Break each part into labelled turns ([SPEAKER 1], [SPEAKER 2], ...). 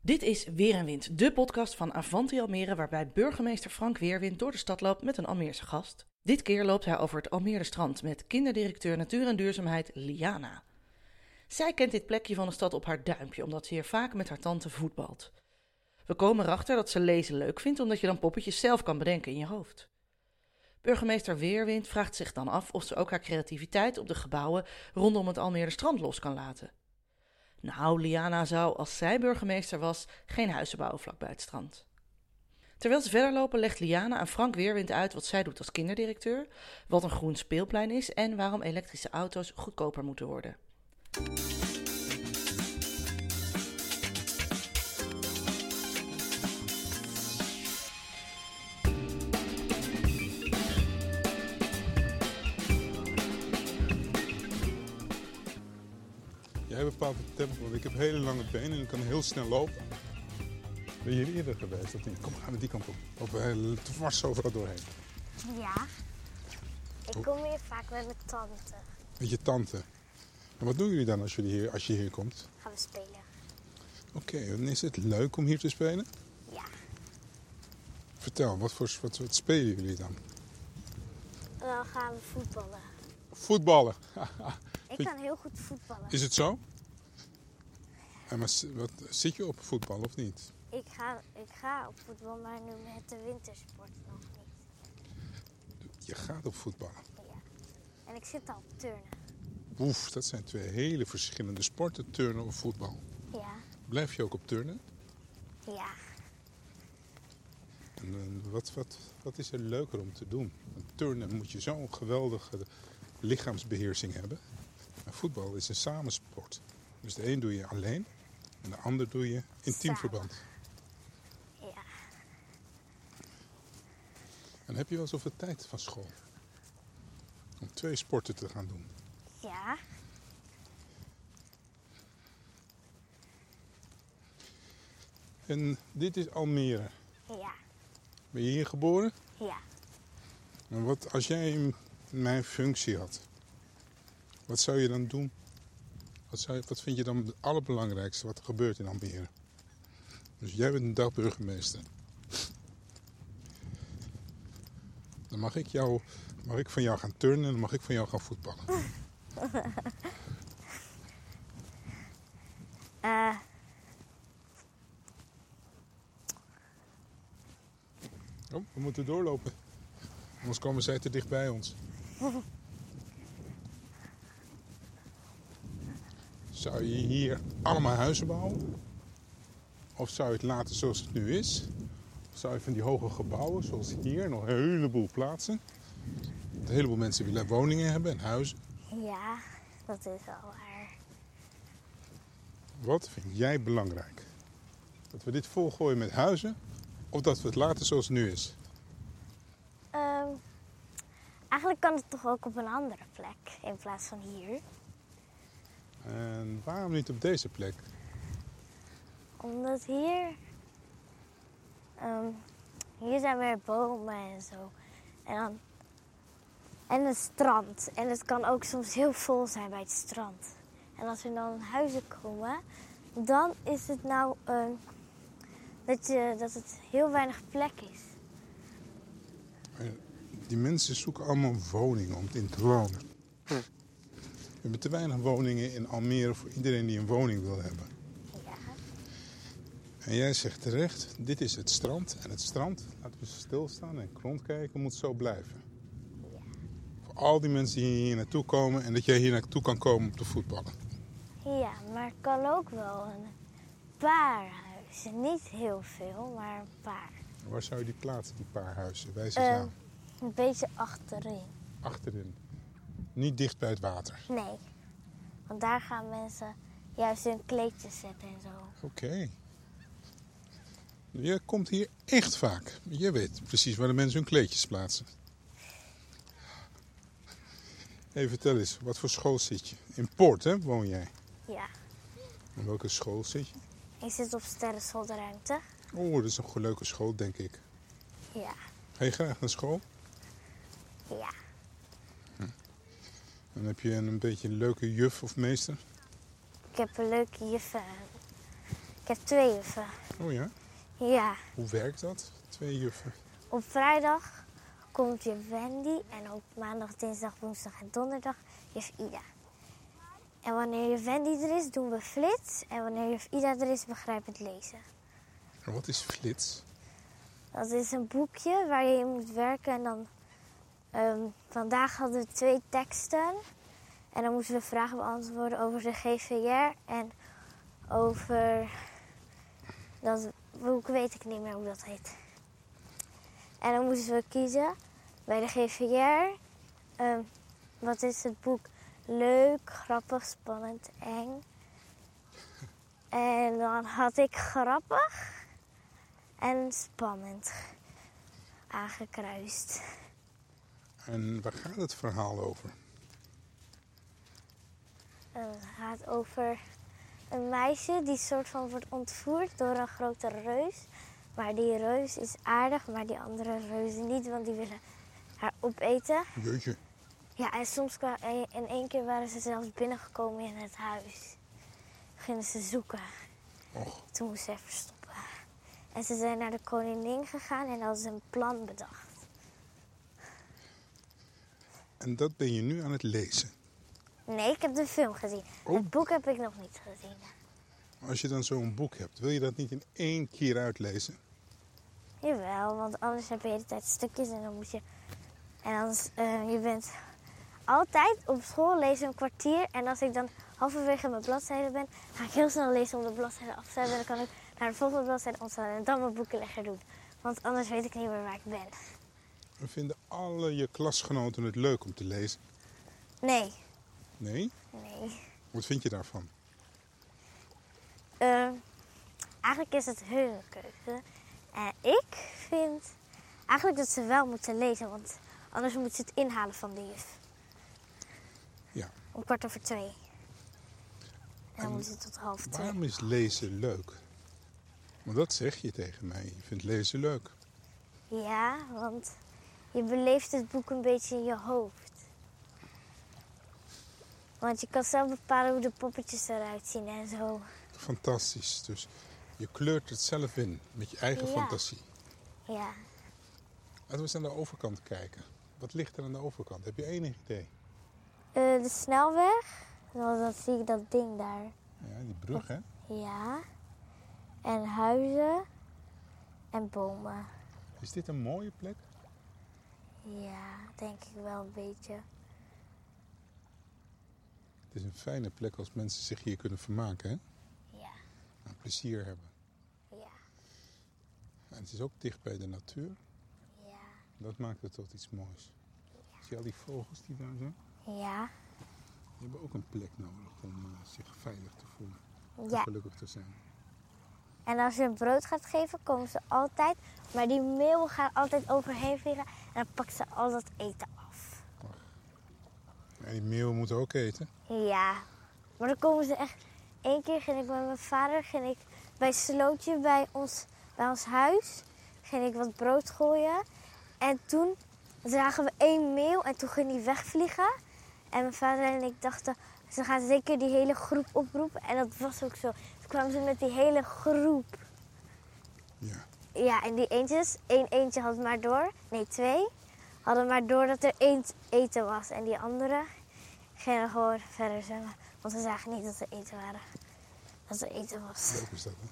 [SPEAKER 1] Dit is Weer en Wind, de podcast van Avanti Almere, waarbij burgemeester Frank Weerwind door de stad loopt met een Almeerse gast. Dit keer loopt hij over het Almere strand met kinderdirecteur Natuur en Duurzaamheid Liana. Zij kent dit plekje van de stad op haar duimpje, omdat ze hier vaak met haar tante voetbalt. We komen erachter dat ze lezen leuk vindt, omdat je dan poppetjes zelf kan bedenken in je hoofd. Burgemeester Weerwind vraagt zich dan af of ze ook haar creativiteit op de gebouwen rondom het Almere strand los kan laten. Nou, Liana zou, als zij burgemeester was, geen huizen bouwen vlakbij het strand. Terwijl ze verder lopen, legt Liana aan Frank Weerwind uit wat zij doet als kinderdirecteur, wat een groen speelplein is en waarom elektrische auto's goedkoper moeten worden.
[SPEAKER 2] Jij bepaalt het tempo. Ik heb hele lange benen en ik kan heel snel lopen. Ben je hier eerder geweest of niet? Kom, we gaan naar die kant op. Lopen we heel dwars overal doorheen.
[SPEAKER 3] Ja. Ik kom hier vaak met mijn tante.
[SPEAKER 2] Met je tante. En wat doen jullie dan als, jullie hier, als je hier komt?
[SPEAKER 3] Gaan we spelen?
[SPEAKER 2] Oké, dan is het leuk om hier te spelen.
[SPEAKER 3] Ja.
[SPEAKER 2] Vertel, wat, voor, wat, wat spelen jullie dan?
[SPEAKER 3] En dan gaan we voetballen.
[SPEAKER 2] Voetballen.
[SPEAKER 3] Ik kan heel goed voetballen.
[SPEAKER 2] Is het zo? En maar, z- wat, zit je op voetbal of niet?
[SPEAKER 3] Ik ga, ik ga op voetbal, maar nu met de wintersport nog niet.
[SPEAKER 2] Je gaat op voetballen.
[SPEAKER 3] Ja. En ik zit al op turnen.
[SPEAKER 2] Oef, dat zijn twee hele verschillende sporten, turnen of voetbal.
[SPEAKER 3] Ja.
[SPEAKER 2] Blijf je ook op turnen?
[SPEAKER 3] Ja.
[SPEAKER 2] En, eh, wat, wat, wat is er leuker om te doen? Want turnen moet je zo'n geweldige lichaamsbeheersing hebben. En voetbal is een samensport. Dus de een doe je alleen en de ander doe je in
[SPEAKER 3] Samen.
[SPEAKER 2] teamverband.
[SPEAKER 3] Ja.
[SPEAKER 2] En heb je wel zoveel tijd van school? Om twee sporten te gaan doen.
[SPEAKER 3] Ja.
[SPEAKER 2] En dit is Almere.
[SPEAKER 3] Ja.
[SPEAKER 2] Ben je hier geboren?
[SPEAKER 3] Ja.
[SPEAKER 2] En wat als jij mijn functie had? Wat zou je dan doen? Wat, zou, je- wat vind je dan het allerbelangrijkste wat er gebeurt in Almere? Dus jij bent een dagburgemeester. Dan mag ik, jou, mag ik van jou gaan turnen en dan mag ik van jou gaan voetballen.
[SPEAKER 3] Eh.
[SPEAKER 2] Oh, we moeten doorlopen. Anders komen zij te dicht bij ons. Zou je hier allemaal huizen bouwen? Of zou je het laten zoals het nu is? Of zou je van die hoge gebouwen, zoals hier, nog een heleboel plaatsen? Want Een heleboel mensen willen woningen hebben en huizen.
[SPEAKER 3] ja. Dat is al waar.
[SPEAKER 2] Wat vind jij belangrijk? Dat we dit volgooien met huizen? Of dat we het laten zoals het nu is?
[SPEAKER 3] Ehm, eigenlijk kan het toch ook op een andere plek in plaats van hier.
[SPEAKER 2] En waarom niet op deze plek?
[SPEAKER 3] Omdat hier. ehm, hier zijn meer bomen en zo. En, dan, en het strand. En het kan ook soms heel vol zijn bij het strand. En als er dan huizen komen, dan is het nou ehm, dat, je, dat het heel weinig plek is.
[SPEAKER 2] Die mensen zoeken allemaal woningen om in te wonen. We hebben te weinig woningen in Almere voor iedereen die een woning wil hebben.
[SPEAKER 3] Ja.
[SPEAKER 2] En jij zegt terecht, dit is het strand. En het strand, laten we stilstaan en rondkijken, moet zo blijven. Voor al die mensen die hier naartoe komen en dat jij hier naartoe kan komen om te voetballen.
[SPEAKER 3] ja, maar het kan ook wel een paar huizen. Niet heel veel, maar een paar.
[SPEAKER 2] Waar zou je die plaatsen, die paar huizen? Wijs eens
[SPEAKER 3] Eh.
[SPEAKER 2] aan.
[SPEAKER 3] Een beetje achterin.
[SPEAKER 2] Achterin. Niet dicht bij het water.
[SPEAKER 3] Nee, want daar gaan mensen juist hun kleedjes zetten en zo.
[SPEAKER 2] Oké. Jij komt hier echt vaak. Je weet precies waar de mensen hun kleedjes plaatsen. Even vertel eens, wat voor school zit je? In Poort, hè, woon jij?
[SPEAKER 3] Ja,
[SPEAKER 2] In welke school zit je?
[SPEAKER 3] ik zit op sterrensolderuimte.
[SPEAKER 2] Oeh, dat is een leuke school, denk ik.
[SPEAKER 3] Ja,
[SPEAKER 2] Ga je graag naar school?
[SPEAKER 3] ja,
[SPEAKER 2] Dan heb je een, een beetje een leuke juf of meester.
[SPEAKER 3] ik heb een leuke juf en Ik heb twee juffen.
[SPEAKER 2] Oh ja?
[SPEAKER 3] Ja.
[SPEAKER 2] Hoe werkt dat? Twee juffen.
[SPEAKER 3] Op vrijdag komt je Wendy en op maandag, dinsdag, woensdag en donderdag juf Ida. En wanneer juf Wendy er is, doen we flits. En wanneer juf Ida er is, begrijpend lezen.
[SPEAKER 2] En wat is flits?
[SPEAKER 3] Dat is een boekje waar je in moet werken. En dan, ehm, vandaag hadden we twee teksten. En dan moesten we vragen beantwoorden over de GVR en over. Dat boek weet ik niet meer hoe dat heet. En dan moesten we kiezen bij de GVR. ehm, wat is het boek? Leuk, grappig, spannend, eng. En dan had ik grappig en spannend aangekruist.
[SPEAKER 2] En waar gaat het verhaal over?
[SPEAKER 3] En Het gaat over een meisje die soort van wordt ontvoerd door een grote reus. Maar die reus is aardig, maar die andere reuzen niet, want die willen haar opeten.
[SPEAKER 2] Jeetje.
[SPEAKER 3] Ja, en soms kwa- en in één keer waren ze zelfs binnengekomen in het huis. Gingen ze zoeken.
[SPEAKER 2] Och,
[SPEAKER 3] Toen moest zij verstoppen. En ze zijn naar de koningin gegaan en hadden ze een plan bedacht.
[SPEAKER 2] en dat ben je nu aan het lezen.
[SPEAKER 3] Nee, ik heb de film gezien.
[SPEAKER 2] Oh.
[SPEAKER 3] Het boek heb ik nog niet gezien.
[SPEAKER 2] Als je dan zo'n boek hebt, wil je dat niet in één keer uitlezen?
[SPEAKER 3] Jawel, want anders heb je de hele tijd stukjes en dan moet je. En anders, eh, je bent altijd op school lezen een kwartier. En als ik dan halverwege mijn bladzijde ben, ga ik heel snel lezen om de bladzijde af te zijn. En dan kan ik naar de volgende bladzijde ontstaan en dan mijn boekenlegger doen. Want anders weet ik niet meer waar ik ben.
[SPEAKER 2] En vinden alle je klasgenoten het leuk om te lezen?
[SPEAKER 3] Nee,
[SPEAKER 2] Nee?
[SPEAKER 3] nee.
[SPEAKER 2] Wat vind je daarvan?
[SPEAKER 3] Eh, eigenlijk is het hun keuze. En ik vind eigenlijk dat ze wel moeten lezen, want anders moeten ze het inhalen van de juf.
[SPEAKER 2] Ja.
[SPEAKER 3] Om kwart over twee. En
[SPEAKER 2] En
[SPEAKER 3] dan moet het tot half twee.
[SPEAKER 2] Waarom is lezen leuk? Want dat zeg je tegen mij. Je vindt lezen leuk.
[SPEAKER 3] Ja, want je beleeft het boek een beetje in je hoofd. Want je kan zelf bepalen hoe de poppetjes eruit zien en zo.
[SPEAKER 2] Fantastisch. Dus je kleurt het zelf in met je eigen
[SPEAKER 3] Ja.
[SPEAKER 2] fantasie.
[SPEAKER 3] Ja.
[SPEAKER 2] Laten we eens aan de overkant kijken. Wat ligt er aan de overkant? Heb je enig idee?
[SPEAKER 3] Eh, de snelweg, dan dan zie ik dat ding daar.
[SPEAKER 2] Ja, die brug, hè?
[SPEAKER 3] Ja. En huizen. En bomen.
[SPEAKER 2] Is dit een mooie plek?
[SPEAKER 3] Ja, denk ik wel een beetje.
[SPEAKER 2] Het is een fijne plek als mensen zich hier kunnen vermaken, hè?
[SPEAKER 3] Ja.
[SPEAKER 2] En plezier hebben.
[SPEAKER 3] Ja.
[SPEAKER 2] En het is ook dicht bij de natuur.
[SPEAKER 3] Ja.
[SPEAKER 2] Dat maakt het tot iets moois. Zie je al die vogels die daar zijn?
[SPEAKER 3] Ja.
[SPEAKER 2] Die hebben ook een plek nodig om eh, zich veilig te voelen. En
[SPEAKER 3] Ja.
[SPEAKER 2] gelukkig te zijn.
[SPEAKER 3] En als je een brood gaat geven, komen ze altijd. Maar die meeuwen gaan altijd overheen vliegen. En dan pakken ze al dat eten af.
[SPEAKER 2] En die meeuwen moeten ook eten.
[SPEAKER 3] Ja. Maar dan komen ze echt... Eén keer ging ik met mijn vader ging ik bij Slootje bij ons, bij ons huis. Ging ik wat brood gooien. En toen zagen we één meeuw en toen ging die wegvliegen. En mijn vader en ik dachten, ze gaan zeker die hele groep oproepen. En dat was ook zo. Toen kwamen ze met die hele groep.
[SPEAKER 2] Ja.
[SPEAKER 3] Ja, en die eendjes, één eentje had maar door, nee twee, hadden maar door dat er eend eten was. En die anderen gingen gewoon verder zwemmen, want ze zagen niet dat er eten waren. Dat er eten was.
[SPEAKER 2] Leuk is dat, hè?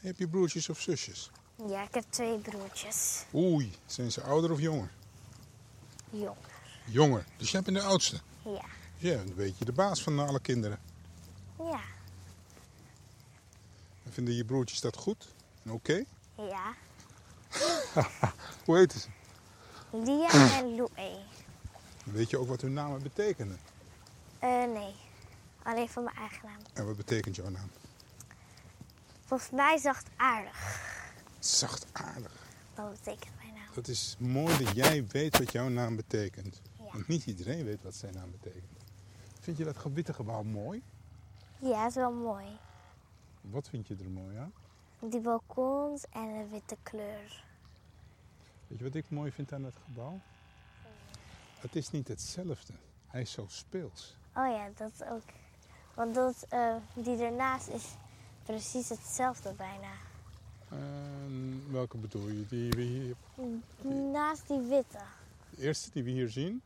[SPEAKER 2] En Heb je broertjes of zusjes?
[SPEAKER 3] Ja, ik heb twee broertjes.
[SPEAKER 2] Oei, zijn ze ouder of jonger?
[SPEAKER 3] Jong.
[SPEAKER 2] Jonger. Dus jij bent de oudste.
[SPEAKER 3] Ja.
[SPEAKER 2] Dus jij bent een beetje de baas van alle kinderen.
[SPEAKER 3] Ja.
[SPEAKER 2] En vinden je broertjes dat goed? En Oké.
[SPEAKER 3] Ja.
[SPEAKER 2] Hoe heten ze?
[SPEAKER 3] Lia en Loué.
[SPEAKER 2] Weet je ook wat hun namen betekenen?
[SPEAKER 3] Eh nee. Alleen van mijn eigen naam.
[SPEAKER 2] En wat betekent jouw naam?
[SPEAKER 3] Volgens mij zacht aardig.
[SPEAKER 2] Zachtaardig.
[SPEAKER 3] Dat betekent mijn naam.
[SPEAKER 2] Dat is mooi dat jij weet wat jouw naam betekent.
[SPEAKER 3] Ja.
[SPEAKER 2] Want niet iedereen weet wat zijn naam betekent. Vind je dat gewitte gebouw mooi?
[SPEAKER 3] Ja, is wel mooi.
[SPEAKER 2] Wat vind je er mooi aan?
[SPEAKER 3] Die balkons en de witte kleur.
[SPEAKER 2] Weet je wat ik mooi vind aan dat gebouw? Het is niet hetzelfde. Hij is zo speels.
[SPEAKER 3] Oh ja, dat ook. Want dat, eh, die ernaast is precies hetzelfde bijna.
[SPEAKER 2] En Ehm, welke bedoel je? Die we hier,
[SPEAKER 3] Naast die witte.
[SPEAKER 2] de eerste die we hier zien?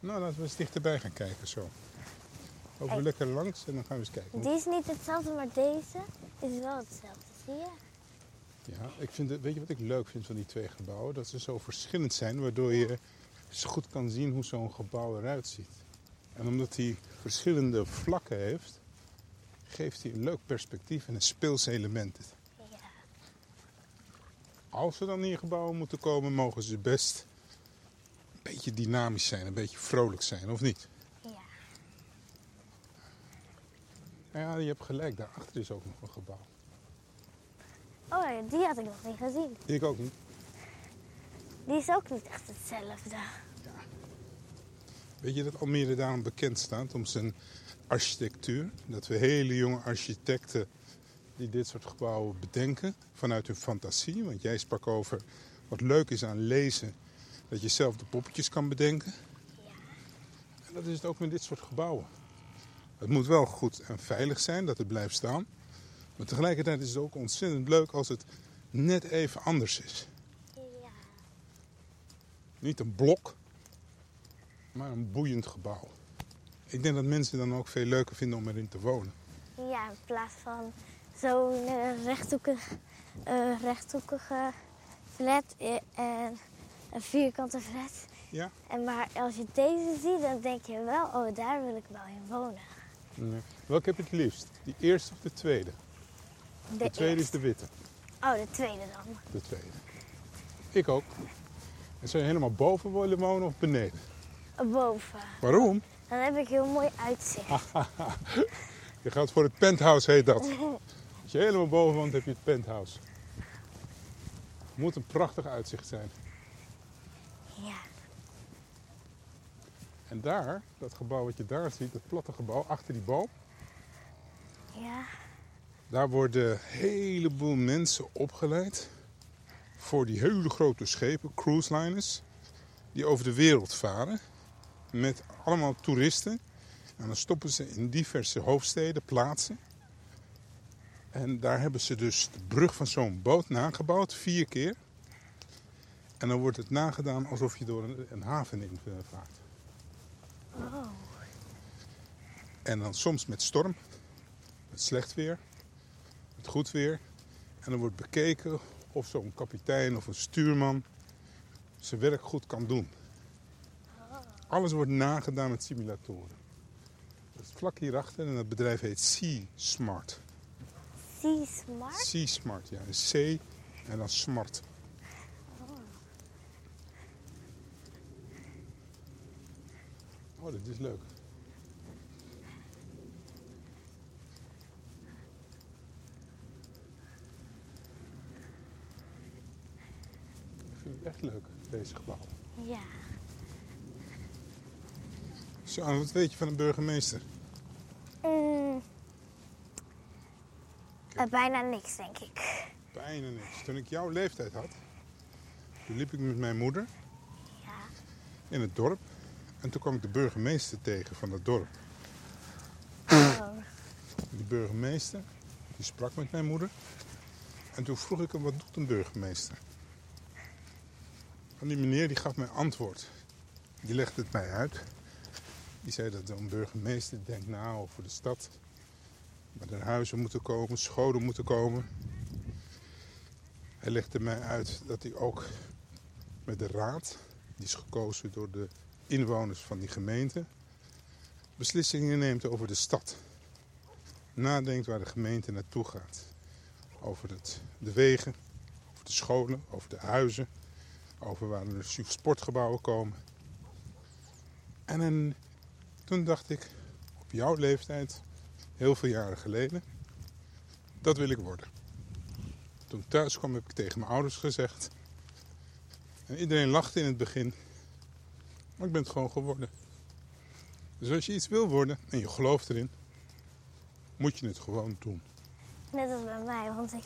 [SPEAKER 2] Nou, laten we eens dichterbij gaan kijken zo. Lopen we
[SPEAKER 3] Hey.
[SPEAKER 2] lekker langs en dan gaan we eens kijken.
[SPEAKER 3] Die is niet hetzelfde, maar deze is wel hetzelfde. Zie je?
[SPEAKER 2] Ja, ik vind het, weet je wat ik leuk vind van die twee gebouwen? Dat ze zo verschillend zijn, waardoor je zo goed kan zien hoe zo'n gebouw eruit ziet. En omdat hij verschillende vlakken heeft, geeft hij een leuk perspectief en een speels element.
[SPEAKER 3] Ja.
[SPEAKER 2] Als ze dan in gebouwen moeten komen, mogen ze best een beetje dynamisch zijn, een beetje vrolijk zijn, of niet?
[SPEAKER 3] Ja.
[SPEAKER 2] Nou Ja, je hebt gelijk, daarachter is ook nog een gebouw.
[SPEAKER 3] Oh, ja, die had ik nog niet gezien.
[SPEAKER 2] Ik ook niet.
[SPEAKER 3] Die is ook niet echt hetzelfde.
[SPEAKER 2] Weet je dat Almere daarom bekend staat om zijn architectuur? Dat we hele jonge architecten die dit soort gebouwen bedenken vanuit hun fantasie. Want jij sprak over wat leuk is aan lezen, dat je zelf de poppetjes kan bedenken. En dat is het ook met dit soort gebouwen. Het moet wel goed en veilig zijn dat het blijft staan. Maar tegelijkertijd is het ook ontzettend leuk als het net even anders is.
[SPEAKER 3] Ja.
[SPEAKER 2] Niet een blok, maar een boeiend gebouw. Ik denk dat mensen dan ook veel leuker vinden om erin te wonen.
[SPEAKER 3] Ja, in plaats van zo'n eh, rechthoekig, eh, rechthoekige flat eh, en een vierkante flat.
[SPEAKER 2] Ja?
[SPEAKER 3] En maar als je deze ziet, dan denk je wel, oh, daar wil ik wel in wonen.
[SPEAKER 2] Welke heb je het liefst? Die eerste of de tweede?
[SPEAKER 3] De,
[SPEAKER 2] De, tweede
[SPEAKER 3] eerste.
[SPEAKER 2] is de witte.
[SPEAKER 3] Oh, de tweede dan.
[SPEAKER 2] De tweede. Ik ook. En zou je helemaal boven willen wonen of beneden?
[SPEAKER 3] Boven.
[SPEAKER 2] Waarom?
[SPEAKER 3] Dan heb ik heel mooi uitzicht.
[SPEAKER 2] Ah. Je gaat voor het penthouse, heet dat. Als je helemaal boven woont, heb je het penthouse. Moet een prachtig uitzicht zijn.
[SPEAKER 3] Ja.
[SPEAKER 2] En daar, dat gebouw wat je daar ziet, dat platte gebouw achter die boom,
[SPEAKER 3] Ja.
[SPEAKER 2] Daar worden een heleboel mensen opgeleid voor die hele grote schepen, cruise liners, die over de wereld varen met allemaal toeristen. En dan stoppen ze in diverse hoofdsteden, plaatsen. En daar hebben ze dus de brug van zo'n boot nagebouwd, vier keer. En dan wordt het nagedaan alsof je door een, een haven in eh, vaart.
[SPEAKER 3] Oh.
[SPEAKER 2] En dan soms met storm, met slecht weer, met goed weer. En dan wordt bekeken of zo'n kapitein of een stuurman zijn werk goed kan doen. Alles wordt nagedaan met simulatoren. Dat is vlak hierachter en dat bedrijf heet Sea Smart.
[SPEAKER 3] Sea Smart?
[SPEAKER 2] Sea Smart, ja. Een C en dan Smart. Oh, dit is leuk. Ik vind het echt leuk, deze gebouwen.
[SPEAKER 3] Ja.
[SPEAKER 2] Zo, wat weet je van een burgemeester?
[SPEAKER 3] Mm. Eh, bijna niks, denk ik.
[SPEAKER 2] Bijna niks. Toen ik jouw leeftijd had, toen liep ik met mijn moeder
[SPEAKER 3] Ja.
[SPEAKER 2] in het dorp. En toen kwam ik de burgemeester tegen van dat dorp.
[SPEAKER 3] Oh.
[SPEAKER 2] Die burgemeester, die sprak met mijn moeder. En toen vroeg ik hem, wat doet een burgemeester? En die meneer die gaf mij antwoord. Die legde het mij uit. Die zei dat een burgemeester denkt na over de stad. Maar er huizen moeten komen, scholen moeten komen. Hij legde mij uit dat hij ook met de raad, die is gekozen door de inwoners van die gemeente, beslissingen neemt over de stad nadenkt waar de gemeente naartoe gaat. Over het, de wegen, over de scholen, over de huizen, over waar er dus sportgebouwen komen. En, en toen dacht ik, op jouw leeftijd, heel veel jaren geleden, dat wil ik worden. Toen ik thuis kwam heb ik tegen mijn ouders gezegd. En iedereen lachte in het begin. Maar ik ben het gewoon geworden. Dus als je iets wil worden en je gelooft erin, moet je het gewoon doen.
[SPEAKER 3] Net als bij mij, want ik,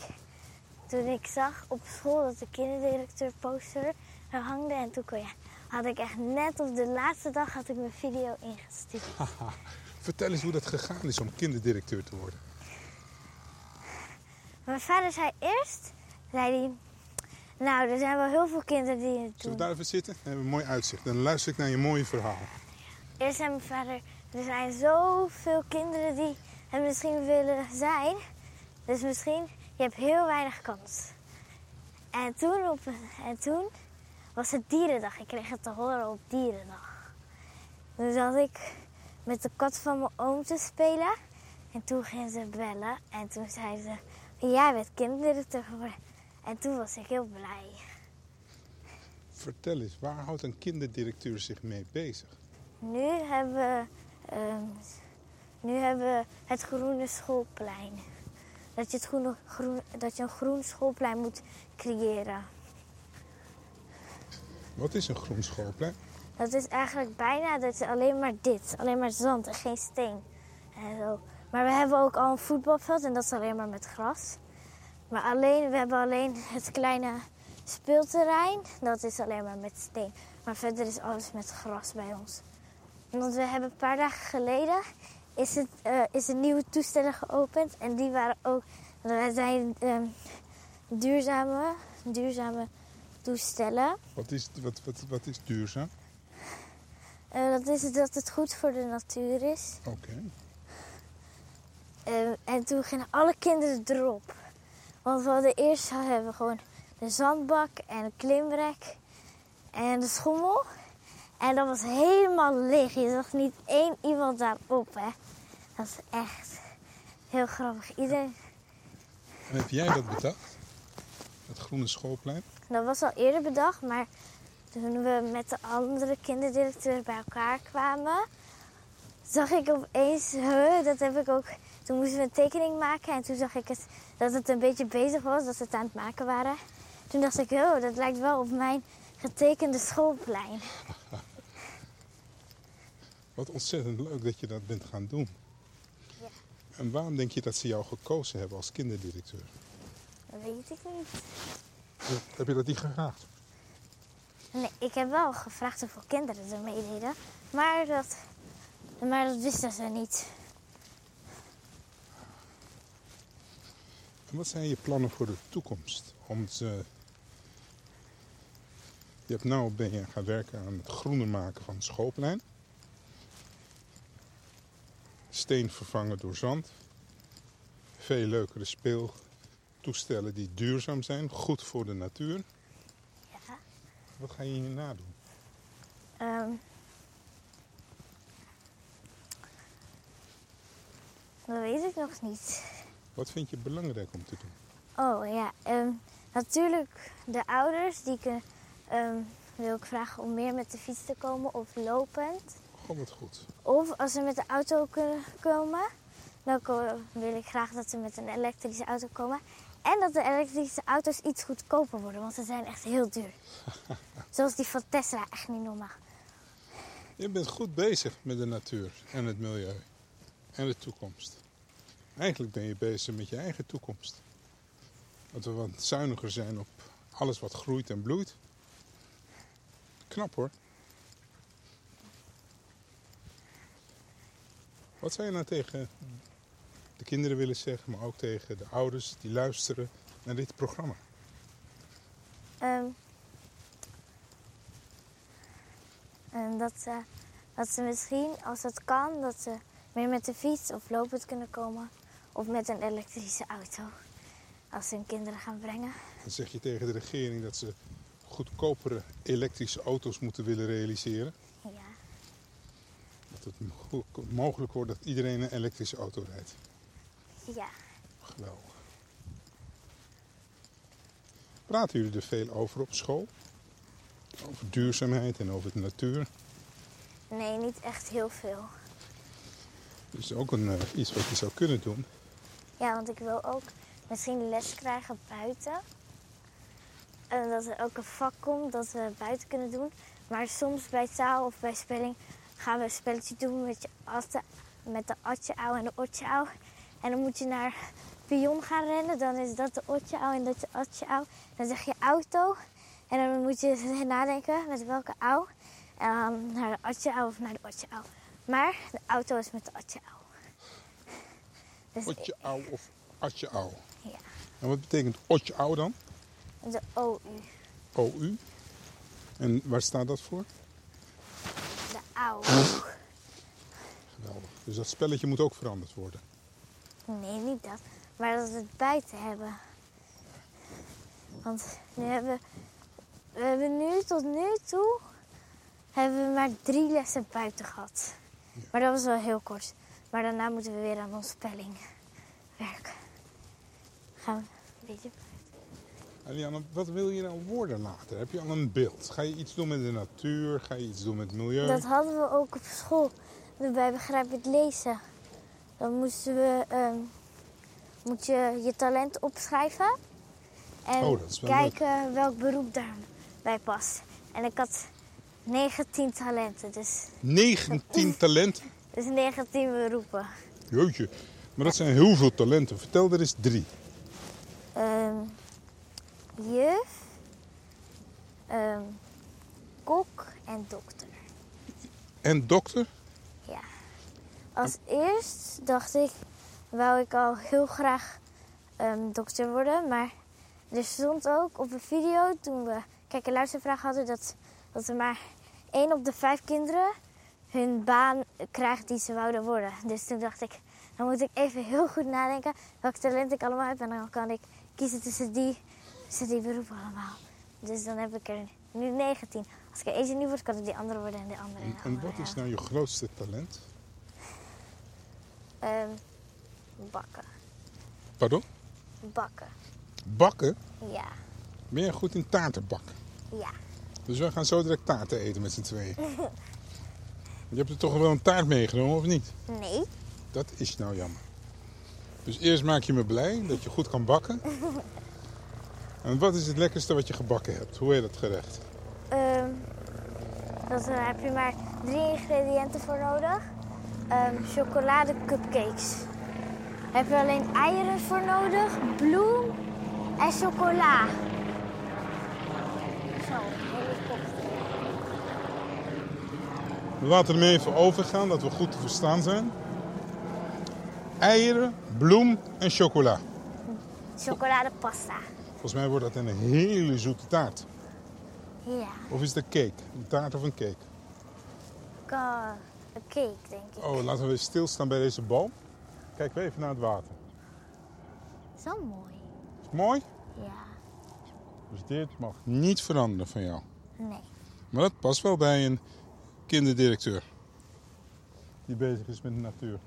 [SPEAKER 3] toen ik zag op school dat de kinderdirecteur poster er hangde en toen kon je, had ik echt net op de laatste dag had ik mijn video ingestuurd.
[SPEAKER 2] Vertel eens hoe dat gegaan is om kinderdirecteur te worden.
[SPEAKER 3] Mijn vader zei eerst, zei hij, nou, er zijn wel heel veel kinderen die het
[SPEAKER 2] Zullen we
[SPEAKER 3] doen.
[SPEAKER 2] daar even zitten? Dan hebben we een mooi uitzicht. Dan luister ik naar je mooie verhaal.
[SPEAKER 3] Eerst zei mijn vader, er zijn zoveel kinderen die het misschien willen zijn. Dus misschien, je hebt heel weinig kans. En toen, op, en toen was het dierendag. Ik kreeg het te horen op dierendag. Toen zat ik met de kat van mijn oom te spelen. En toen ging ze bellen. En toen zei ze, jij bent kinderdirecteur geworden. En toen was ik heel blij.
[SPEAKER 2] Vertel eens, waar houdt een kinderdirecteur zich mee bezig?
[SPEAKER 3] Nu hebben we, ehm, nu hebben we het groene schoolplein. Dat je, het groene, groen, dat je een groen schoolplein moet creëren.
[SPEAKER 2] Wat is een groen schoolplein?
[SPEAKER 3] Dat is eigenlijk bijna dat is alleen maar dit. Alleen maar zand en geen steen. En zo. Maar we hebben ook al een voetbalveld en dat is alleen maar met gras. Maar alleen, we hebben alleen het kleine speelterrein. Dat is alleen maar met steen. Maar verder is alles met gras bij ons. Want we hebben een paar dagen geleden is het, eh, is een nieuwe toestellen geopend. En die waren ook, dat zijn ehm, duurzame, duurzame toestellen.
[SPEAKER 2] Wat is, wat, wat, wat is duurzaam?
[SPEAKER 3] Eh, dat is dat het goed voor de natuur is.
[SPEAKER 2] Oké.
[SPEAKER 3] Eh, en toen gingen alle kinderen erop. Want we hadden eerst eh, hebben we gewoon de zandbak en een klimrek en de schommel. En dat was helemaal leeg. Je zag niet één iemand daarop, hè. Dat is echt heel grappig. Iedereen...
[SPEAKER 2] En heb jij dat bedacht? Dat groene schoolplein?
[SPEAKER 3] Dat was al eerder bedacht, maar toen we met de andere kinderdirecteurs bij elkaar kwamen, zag ik opeens, huh, dat heb ik ook. Toen moesten we een tekening maken en toen zag ik het, dat het een beetje bezig was, dat ze het aan het maken waren. Toen dacht ik, oh, dat lijkt wel op mijn getekende schoolplein.
[SPEAKER 2] Wat ontzettend leuk dat je dat bent gaan doen.
[SPEAKER 3] Ja.
[SPEAKER 2] En waarom denk je dat ze jou gekozen hebben als kinderdirecteur?
[SPEAKER 3] Dat weet ik niet.
[SPEAKER 2] Heb je dat niet gevraagd?
[SPEAKER 3] Nee, ik heb wel gevraagd hoeveel kinderen er meededen, maar dat, maar dat wisten ze niet.
[SPEAKER 2] En wat zijn je plannen voor de toekomst? Om ze... Je hebt nou ben je gaan werken aan het groener maken van het schoolplein. Steen vervangen door zand. Veel leukere speeltoestellen die duurzaam zijn, goed voor de natuur.
[SPEAKER 3] Ja.
[SPEAKER 2] Wat ga je hierna doen?
[SPEAKER 3] Ehm, dat weet ik nog niet.
[SPEAKER 2] Wat vind je belangrijk om te doen?
[SPEAKER 3] Oh ja, ehm, natuurlijk de ouders die kun, ehm, wil ik vragen om meer met de fiets te komen of lopend.
[SPEAKER 2] God, wat goed.
[SPEAKER 3] Of als ze met de auto kunnen komen, dan ko- wil ik graag dat ze met een elektrische auto komen. En dat de elektrische auto's iets goedkoper worden, want ze zijn echt heel duur. Zoals die van Tesla, echt niet normaal.
[SPEAKER 2] Je bent goed bezig met de natuur en het milieu en de toekomst. Eigenlijk ben je bezig met je eigen toekomst. Dat we wat zuiniger zijn op alles wat groeit en bloeit. Knap hoor. Wat zou je nou tegen de kinderen willen zeggen, maar ook tegen de ouders die luisteren naar dit programma?
[SPEAKER 3] Ehm, en ehm, dat, ze, dat ze misschien, als dat kan, dat ze meer met de fiets of lopend kunnen komen. Of met een elektrische auto. Als ze hun kinderen gaan brengen.
[SPEAKER 2] Dan zeg je tegen de regering dat ze goedkopere elektrische auto's moeten willen realiseren.
[SPEAKER 3] Ja.
[SPEAKER 2] Dat het mo- mogelijk wordt dat iedereen een elektrische auto rijdt.
[SPEAKER 3] ja.
[SPEAKER 2] Geweldig. Praten jullie er veel over op school? Over duurzaamheid en over de natuur.
[SPEAKER 3] Nee, niet echt heel veel.
[SPEAKER 2] Dat is ook een, eh, iets wat je zou kunnen doen.
[SPEAKER 3] Ja, want ik wil ook misschien les krijgen buiten. En dat er ook een vak komt dat we buiten kunnen doen. Maar soms bij taal of bij spelling gaan we een spelletje doen met, je atte, met de atje ouw en de otje ouw. En dan moet je naar pion gaan rennen. Dan is dat de otje ouw en dat de atje ouw. Dan zeg je auto. En dan moet je nadenken met welke ouw. En dan naar de atje ouw of naar de otje ouw. Maar de auto is met de atje ouw. Dus
[SPEAKER 2] Otje ouw of Atje Au.
[SPEAKER 3] Ja.
[SPEAKER 2] En wat betekent Otje Au dan?
[SPEAKER 3] De OU.
[SPEAKER 2] OU. En waar staat dat voor?
[SPEAKER 3] De AU.
[SPEAKER 2] Geweldig. Dus dat spelletje moet ook veranderd worden.
[SPEAKER 3] Nee, niet dat. Maar dat we het buiten hebben. Want nu hebben we hebben nu tot nu toe hebben we maar drie lessen buiten gehad. Maar dat was wel heel kort. Maar daarna moeten we weer aan onze spelling werken. Gaan we een beetje.
[SPEAKER 2] Eliane, wat wil je nou worden later? Heb je al een beeld? Ga je iets doen met de natuur? Ga je iets doen met het milieu?
[SPEAKER 3] Dat hadden we ook op school. Bij begrijpend lezen. Dan moesten we ehm, moet je je talent opschrijven. En
[SPEAKER 2] Oh, dat is wel
[SPEAKER 3] kijken welk beroep daarbij past. En ik had 19 talenten, dus,
[SPEAKER 2] 19 talenten.
[SPEAKER 3] dus 19 beroepen.
[SPEAKER 2] Jeetje. Maar dat zijn heel veel talenten. Vertel er eens drie.
[SPEAKER 3] Ehm, juf, ehm, kok en dokter.
[SPEAKER 2] En dokter?
[SPEAKER 3] Ja. Als eerst dacht ik, wou ik al heel graag ehm, dokter worden. Maar er stond ook op een video toen we kijk- en luistervraag hadden... Dat, dat er maar één op de vijf kinderen hun baan krijgt die ze wouden worden. Dus toen dacht ik, dan moet ik even heel goed nadenken welk talent ik allemaal heb. En dan kan ik kiezen tussen die, tussen die beroepen allemaal. Dus dan heb ik er nu 19. Als ik er eentje niet word, kan ik die andere worden en de andere.
[SPEAKER 2] En,
[SPEAKER 3] de
[SPEAKER 2] en
[SPEAKER 3] andere,
[SPEAKER 2] wat is
[SPEAKER 3] ja.
[SPEAKER 2] nou je grootste talent?
[SPEAKER 3] Ehm, bakken.
[SPEAKER 2] Pardon?
[SPEAKER 3] Bakken.
[SPEAKER 2] Bakken?
[SPEAKER 3] Ja.
[SPEAKER 2] Ben jij goed in taarten bakken?
[SPEAKER 3] Ja.
[SPEAKER 2] Dus we gaan zo direct taarten eten met z'n tweeën. Je hebt er toch wel een taart meegenomen, of niet?
[SPEAKER 3] Nee.
[SPEAKER 2] Dat is nou jammer. Dus eerst maak je me blij dat je goed kan bakken. En wat is het lekkerste wat je gebakken hebt? Hoe heet dat gerecht?
[SPEAKER 3] Ehm dat, daar heb je maar drie ingrediënten voor nodig. Ehm chocolade cupcakes. Daar heb je alleen eieren voor nodig, bloem en chocola. Zo, helikopter.
[SPEAKER 2] We laten hem even overgaan, dat we goed te verstaan zijn. Eieren, bloem en chocola.
[SPEAKER 3] Chocoladepasta.
[SPEAKER 2] Volgens mij wordt dat een hele zoete taart.
[SPEAKER 3] Ja.
[SPEAKER 2] Of is het een cake? Een taart of een cake?
[SPEAKER 3] Ka- Een cake, denk ik.
[SPEAKER 2] Oh, laten we even stilstaan bij deze boom. Kijken we even naar het water.
[SPEAKER 3] Zo mooi.
[SPEAKER 2] Is het mooi?
[SPEAKER 3] Ja.
[SPEAKER 2] Dus dit mag niet veranderen van jou.
[SPEAKER 3] Nee.
[SPEAKER 2] Maar dat past wel bij een kinderdirecteur. Die bezig is met de natuur.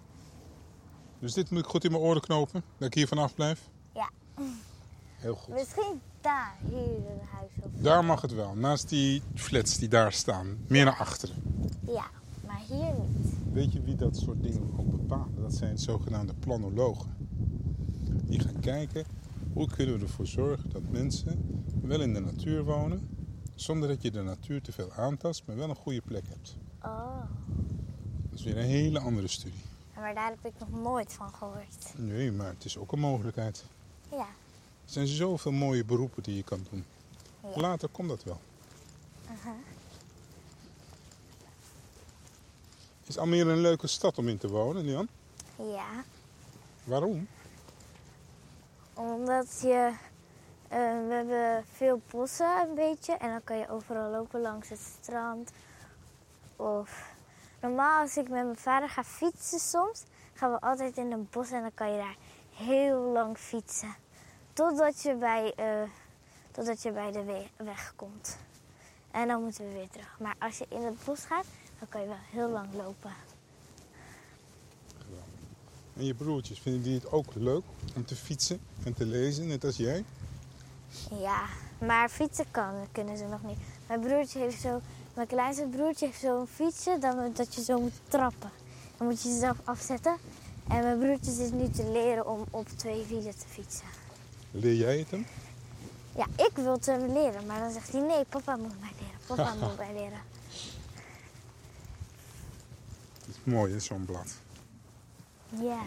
[SPEAKER 2] Dus dit moet ik goed in mijn oren knopen, dat ik hier vanaf blijf?
[SPEAKER 3] Ja.
[SPEAKER 2] Heel goed.
[SPEAKER 3] Misschien daar, hier in huis of
[SPEAKER 2] Daar mag het wel, naast die flats die daar staan. Meer naar achteren.
[SPEAKER 3] Ja, maar hier niet.
[SPEAKER 2] Weet je wie dat soort dingen ook bepalen? Dat zijn zogenaamde planologen. Die gaan kijken, hoe kunnen we ervoor zorgen dat mensen wel in de natuur wonen... zonder dat je de natuur te veel aantast, maar wel een goede plek hebt.
[SPEAKER 3] Oh,
[SPEAKER 2] Dat is weer een hele andere studie.
[SPEAKER 3] maar daar heb ik nog nooit van gehoord.
[SPEAKER 2] Nee, maar het is ook een mogelijkheid.
[SPEAKER 3] Ja,
[SPEAKER 2] Er zijn zoveel mooie beroepen die je kan doen.
[SPEAKER 3] Ja.
[SPEAKER 2] Later komt dat wel. Is Almere een leuke stad om in te wonen, Jan?
[SPEAKER 3] ja.
[SPEAKER 2] Waarom?
[SPEAKER 3] Omdat je... eh, we hebben veel bossen een beetje en dan kan je overal lopen langs het strand. Of normaal als ik met mijn vader ga fietsen soms, gaan we altijd in een bos en dan kan je daar heel lang fietsen. Totdat je bij, eh, totdat je bij de we- weg komt. En dan moeten we weer terug. Maar als je in het bos gaat, dan kan je wel heel lang lopen.
[SPEAKER 2] En je broertjes, vinden die het ook leuk om te fietsen en te lezen, net als jij?
[SPEAKER 3] Ja, maar fietsen kan, kunnen ze nog niet. Mijn broertje heeft zo, mijn kleinste broertje heeft zo'n fietsen dan, dat je zo moet trappen. Dan moet je jezelf afzetten. En mijn broertje zit nu te leren om op twee wielen te fietsen.
[SPEAKER 2] Leer jij het hem?
[SPEAKER 3] Ja, ik wil het hem leren, maar dan zegt hij nee, papa moet mij leren, papa moet mij leren.
[SPEAKER 2] Het is mooi, hè, zo'n blad.
[SPEAKER 3] Ja.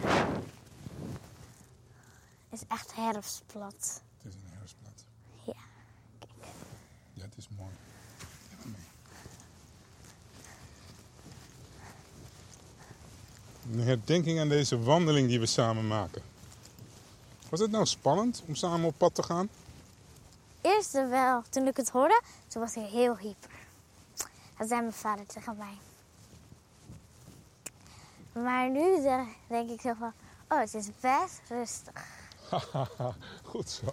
[SPEAKER 3] Het is echt herfstplat.
[SPEAKER 2] Het is een herfstblad.
[SPEAKER 3] Ja.
[SPEAKER 2] Ja, het is mooi. Ja, maar mee. Een herdenking aan deze wandeling die we samen maken. Was het nou spannend om samen op pad te gaan?
[SPEAKER 3] Eerst wel, toen ik het hoorde, toen was hij heel hyper. Dat zei mijn vader tegen mij. Maar nu eh, denk ik zo van, oh, het is best rustig.
[SPEAKER 2] Hahaha, goed zo.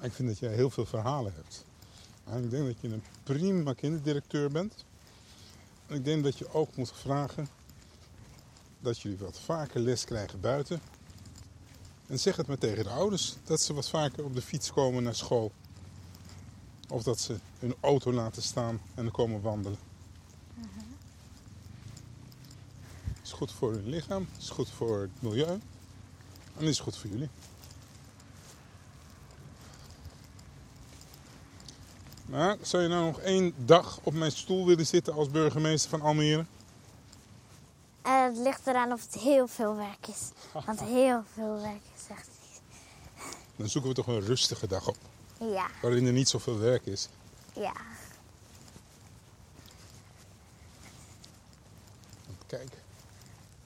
[SPEAKER 2] Ik vind dat jij heel veel verhalen hebt. En ik denk dat je een prima kinderdirecteur bent. En ik denk dat je ook moet vragen dat jullie wat vaker les krijgen buiten. En zeg het maar tegen de ouders dat ze wat vaker op de fiets komen naar school. Of dat ze hun auto laten staan en dan komen wandelen. Is goed voor hun lichaam, is goed voor het milieu. En is goed voor jullie. Maar zou je nou nog één dag op mijn stoel willen zitten als burgemeester van Almere?
[SPEAKER 3] En het ligt eraan of het heel veel werk is. Want heel veel werk is echt...
[SPEAKER 2] Dan zoeken we toch een rustige dag op,
[SPEAKER 3] Ja,
[SPEAKER 2] waarin er niet zoveel werk is.
[SPEAKER 3] ja.
[SPEAKER 2] Want kijk, we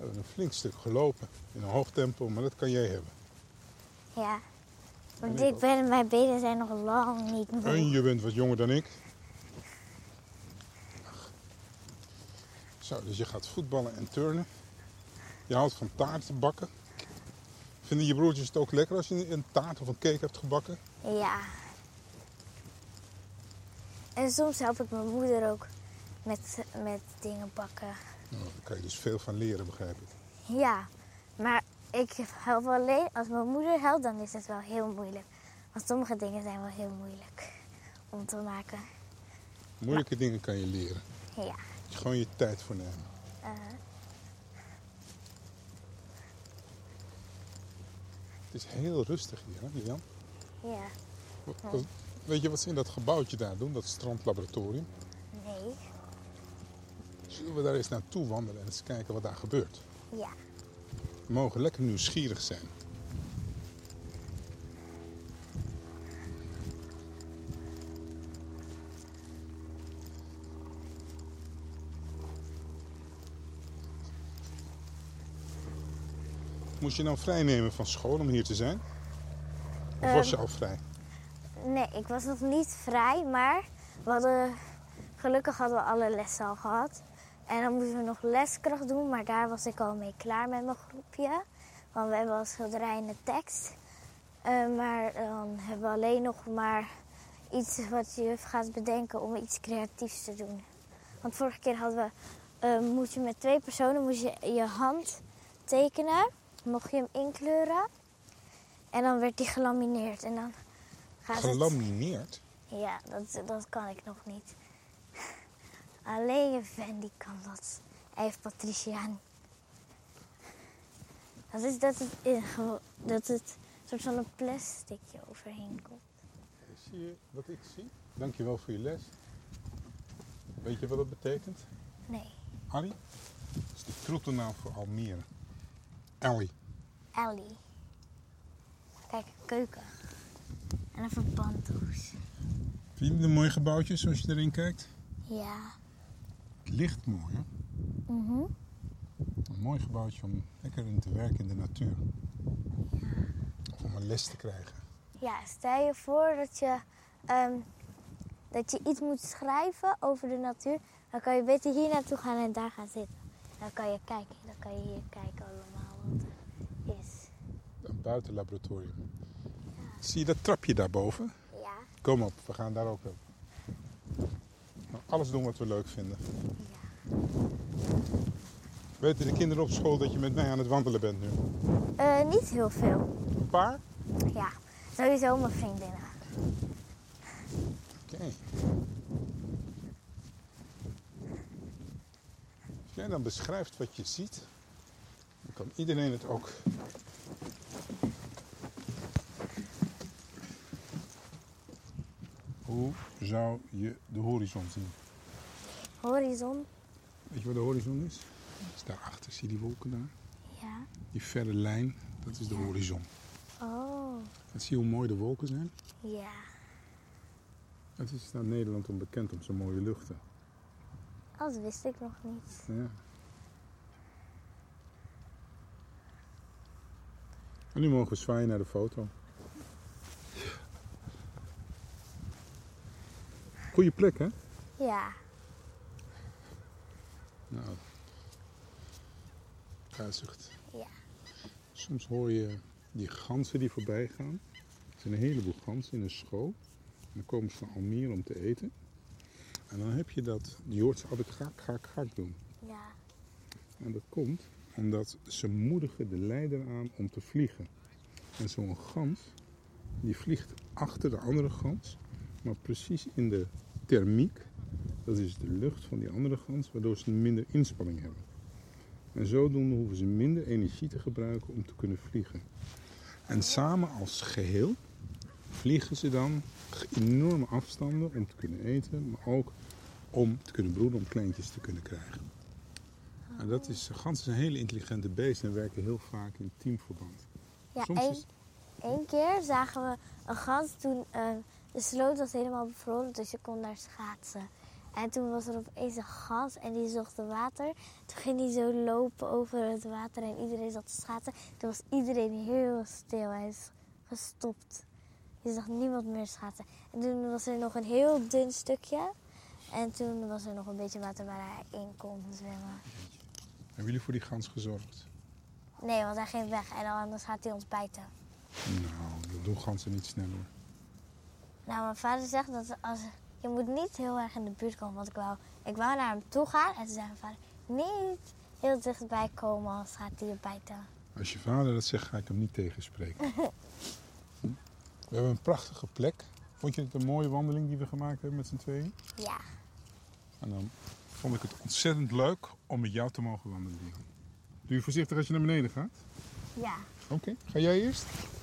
[SPEAKER 2] hebben een flink stuk gelopen in een hoog tempo, maar dat kan jij hebben.
[SPEAKER 3] Ja. Want
[SPEAKER 2] ik
[SPEAKER 3] ik
[SPEAKER 2] ook.
[SPEAKER 3] ben, mijn benen zijn nog lang niet
[SPEAKER 2] En
[SPEAKER 3] moe.
[SPEAKER 2] je bent wat jonger dan ik. Ach. Zo, dus je gaat voetballen en turnen. Je houdt van taarten bakken. Vinden je broertjes het ook lekker als je een taart of een cake hebt gebakken?
[SPEAKER 3] Ja. En soms help ik mijn moeder ook met, met dingen bakken.
[SPEAKER 2] Nou, daar kan je dus veel van leren, begrijp ik.
[SPEAKER 3] Ja, maar ik help alleen als mijn moeder helpt, dan is het wel heel moeilijk. Want sommige dingen zijn wel heel moeilijk om te maken.
[SPEAKER 2] Moeilijke dingen kan je leren.
[SPEAKER 3] Ja.
[SPEAKER 2] Moet je Gewoon je tijd voor nemen. Het is heel rustig hier, hè, Jan?
[SPEAKER 3] Ja.
[SPEAKER 2] Wat- wat- Weet je wat ze in dat gebouwtje daar doen, dat strandlaboratorium?
[SPEAKER 3] Nee.
[SPEAKER 2] Zullen we daar eens naartoe wandelen en eens kijken wat daar gebeurt?
[SPEAKER 3] Ja.
[SPEAKER 2] We mogen lekker nieuwsgierig zijn. Moest je nou vrijnemen van school om hier te zijn? Of was je al vrij?
[SPEAKER 3] Nee, ik was nog niet vrij, maar we hadden, gelukkig hadden we alle lessen al gehad. En dan moesten we nog leskracht doen, maar daar was ik al mee klaar met mijn groepje. Want we hebben al schilderij en de tekst. Eh, maar dan hebben we alleen nog maar iets wat je juf gaat bedenken om iets creatiefs te doen. Want vorige keer hadden we, eh, moest je met twee personen moest je, je hand tekenen. Mocht je hem inkleuren. En dan werd die gelamineerd. En dan gaat het...
[SPEAKER 2] Gelamineerd?
[SPEAKER 3] Ja, dat, dat kan ik nog niet. Alleen je fan die kan dat. Hij heeft Patricia niet. Dat is dat het, in- gewo- dat het soort van een plasticje overheen komt.
[SPEAKER 2] Zie je wat ik zie? Dankjewel voor je les. Weet je wat dat betekent?
[SPEAKER 3] Nee,
[SPEAKER 2] Harry? Dat is de troetelnaam voor Almere. Ellie.
[SPEAKER 3] Ellie. Kijk, een keuken. En een verbanddoos.
[SPEAKER 2] Vind je het een mooi gebouwtje zoals je erin kijkt?
[SPEAKER 3] Ja.
[SPEAKER 2] Het ligt mooi, hè?
[SPEAKER 3] Mhm.
[SPEAKER 2] Een mooi gebouwtje om lekker in te werken in de natuur. Of om een les te krijgen.
[SPEAKER 3] Ja, stel je voor dat je, ehm, dat je iets moet schrijven over de natuur. Dan kan je beter hier naartoe gaan en daar gaan zitten. Dan kan je kijken, dan kan je hier kijken allemaal wat er is.
[SPEAKER 2] Een buitenlaboratorium. Zie je dat trapje daarboven?
[SPEAKER 3] Ja,
[SPEAKER 2] Kom op, we gaan daar ook op. Nou, Alles doen wat we leuk vinden. Weten de kinderen op school dat je met mij aan het wandelen bent nu?
[SPEAKER 3] Eh, niet heel veel.
[SPEAKER 2] Een paar?
[SPEAKER 3] Ja, sowieso mijn vriendinnen.
[SPEAKER 2] Oké. Als jij dan beschrijft wat je ziet, dan kan iedereen het ook. Hoe zou je de horizon zien?
[SPEAKER 3] Horizon.
[SPEAKER 2] Weet je wat de horizon is? Dat is daarachter, zie je die wolken daar?
[SPEAKER 3] Ja.
[SPEAKER 2] Die verre lijn, dat is de horizon.
[SPEAKER 3] Oh,
[SPEAKER 2] En zie je hoe mooi de wolken zijn?
[SPEAKER 3] ja.
[SPEAKER 2] Het is naar Nederland onbekend om zo'n mooie luchten.
[SPEAKER 3] Dat wist ik nog niet.
[SPEAKER 2] Ja. En nu mogen we zwaaien naar de foto. Goeie plek, hè?
[SPEAKER 3] Ja.
[SPEAKER 2] Nou, kruisigt.
[SPEAKER 3] Ja.
[SPEAKER 2] Soms hoor je die ganzen die voorbij gaan. Er zijn een heleboel ganzen in een school. En dan komen ze naar Almere om te eten. En dan heb je dat, je hoort ze altijd gak, gak, gak doen.
[SPEAKER 3] Ja.
[SPEAKER 2] En dat komt omdat ze moedigen de leider aan om te vliegen. En zo'n gans, die vliegt achter de andere gans, maar precies in de thermiek, dat is de lucht van die andere gans, waardoor ze minder inspanning hebben. En zodoende hoeven ze minder energie te gebruiken om te kunnen vliegen. En samen als geheel vliegen ze dan enorme afstanden om te kunnen eten, maar ook om te kunnen broeden, om kleintjes te kunnen krijgen. Nou, dat is, ganzen zijn hele intelligente beesten en werken heel vaak in teamverband.
[SPEAKER 3] Ja,
[SPEAKER 2] Soms
[SPEAKER 3] één-
[SPEAKER 2] is-
[SPEAKER 3] één keer zagen we een gans toen eh, de sloot was helemaal bevroren, dus je kon daar schaatsen. En toen was er opeens een gans en die zocht de water. Toen ging hij zo lopen over het water en iedereen zat te schaatsen. Toen was iedereen heel stil en is gestopt. Je zag niemand meer schaatsen. En toen was er nog een heel dun stukje. En toen was er nog een beetje water waar hij in kon zwemmen.
[SPEAKER 2] Hebben jullie voor die gans gezorgd?
[SPEAKER 3] Nee, want hij ging weg en anders gaat hij ons bijten.
[SPEAKER 2] Nou, dat doen ganzen niet snel hoor.
[SPEAKER 3] Nou, mijn vader zegt dat als, je moet niet heel erg in de buurt komen. Want ik wou, ik wou naar hem toe gaan. En toen zei mijn vader, niet heel dichtbij komen, anders gaat hij je bijten.
[SPEAKER 2] Als je vader dat zegt, ga ik hem niet tegenspreken. Hm? We hebben een prachtige plek. Vond je het een mooie wandeling die we gemaakt hebben met z'n tweeën?
[SPEAKER 3] Ja.
[SPEAKER 2] En dan vond ik het ontzettend leuk om met jou te mogen wandelen. Dion. Doe je voorzichtig als je naar beneden gaat?
[SPEAKER 3] Ja.
[SPEAKER 2] Oké, ga jij eerst?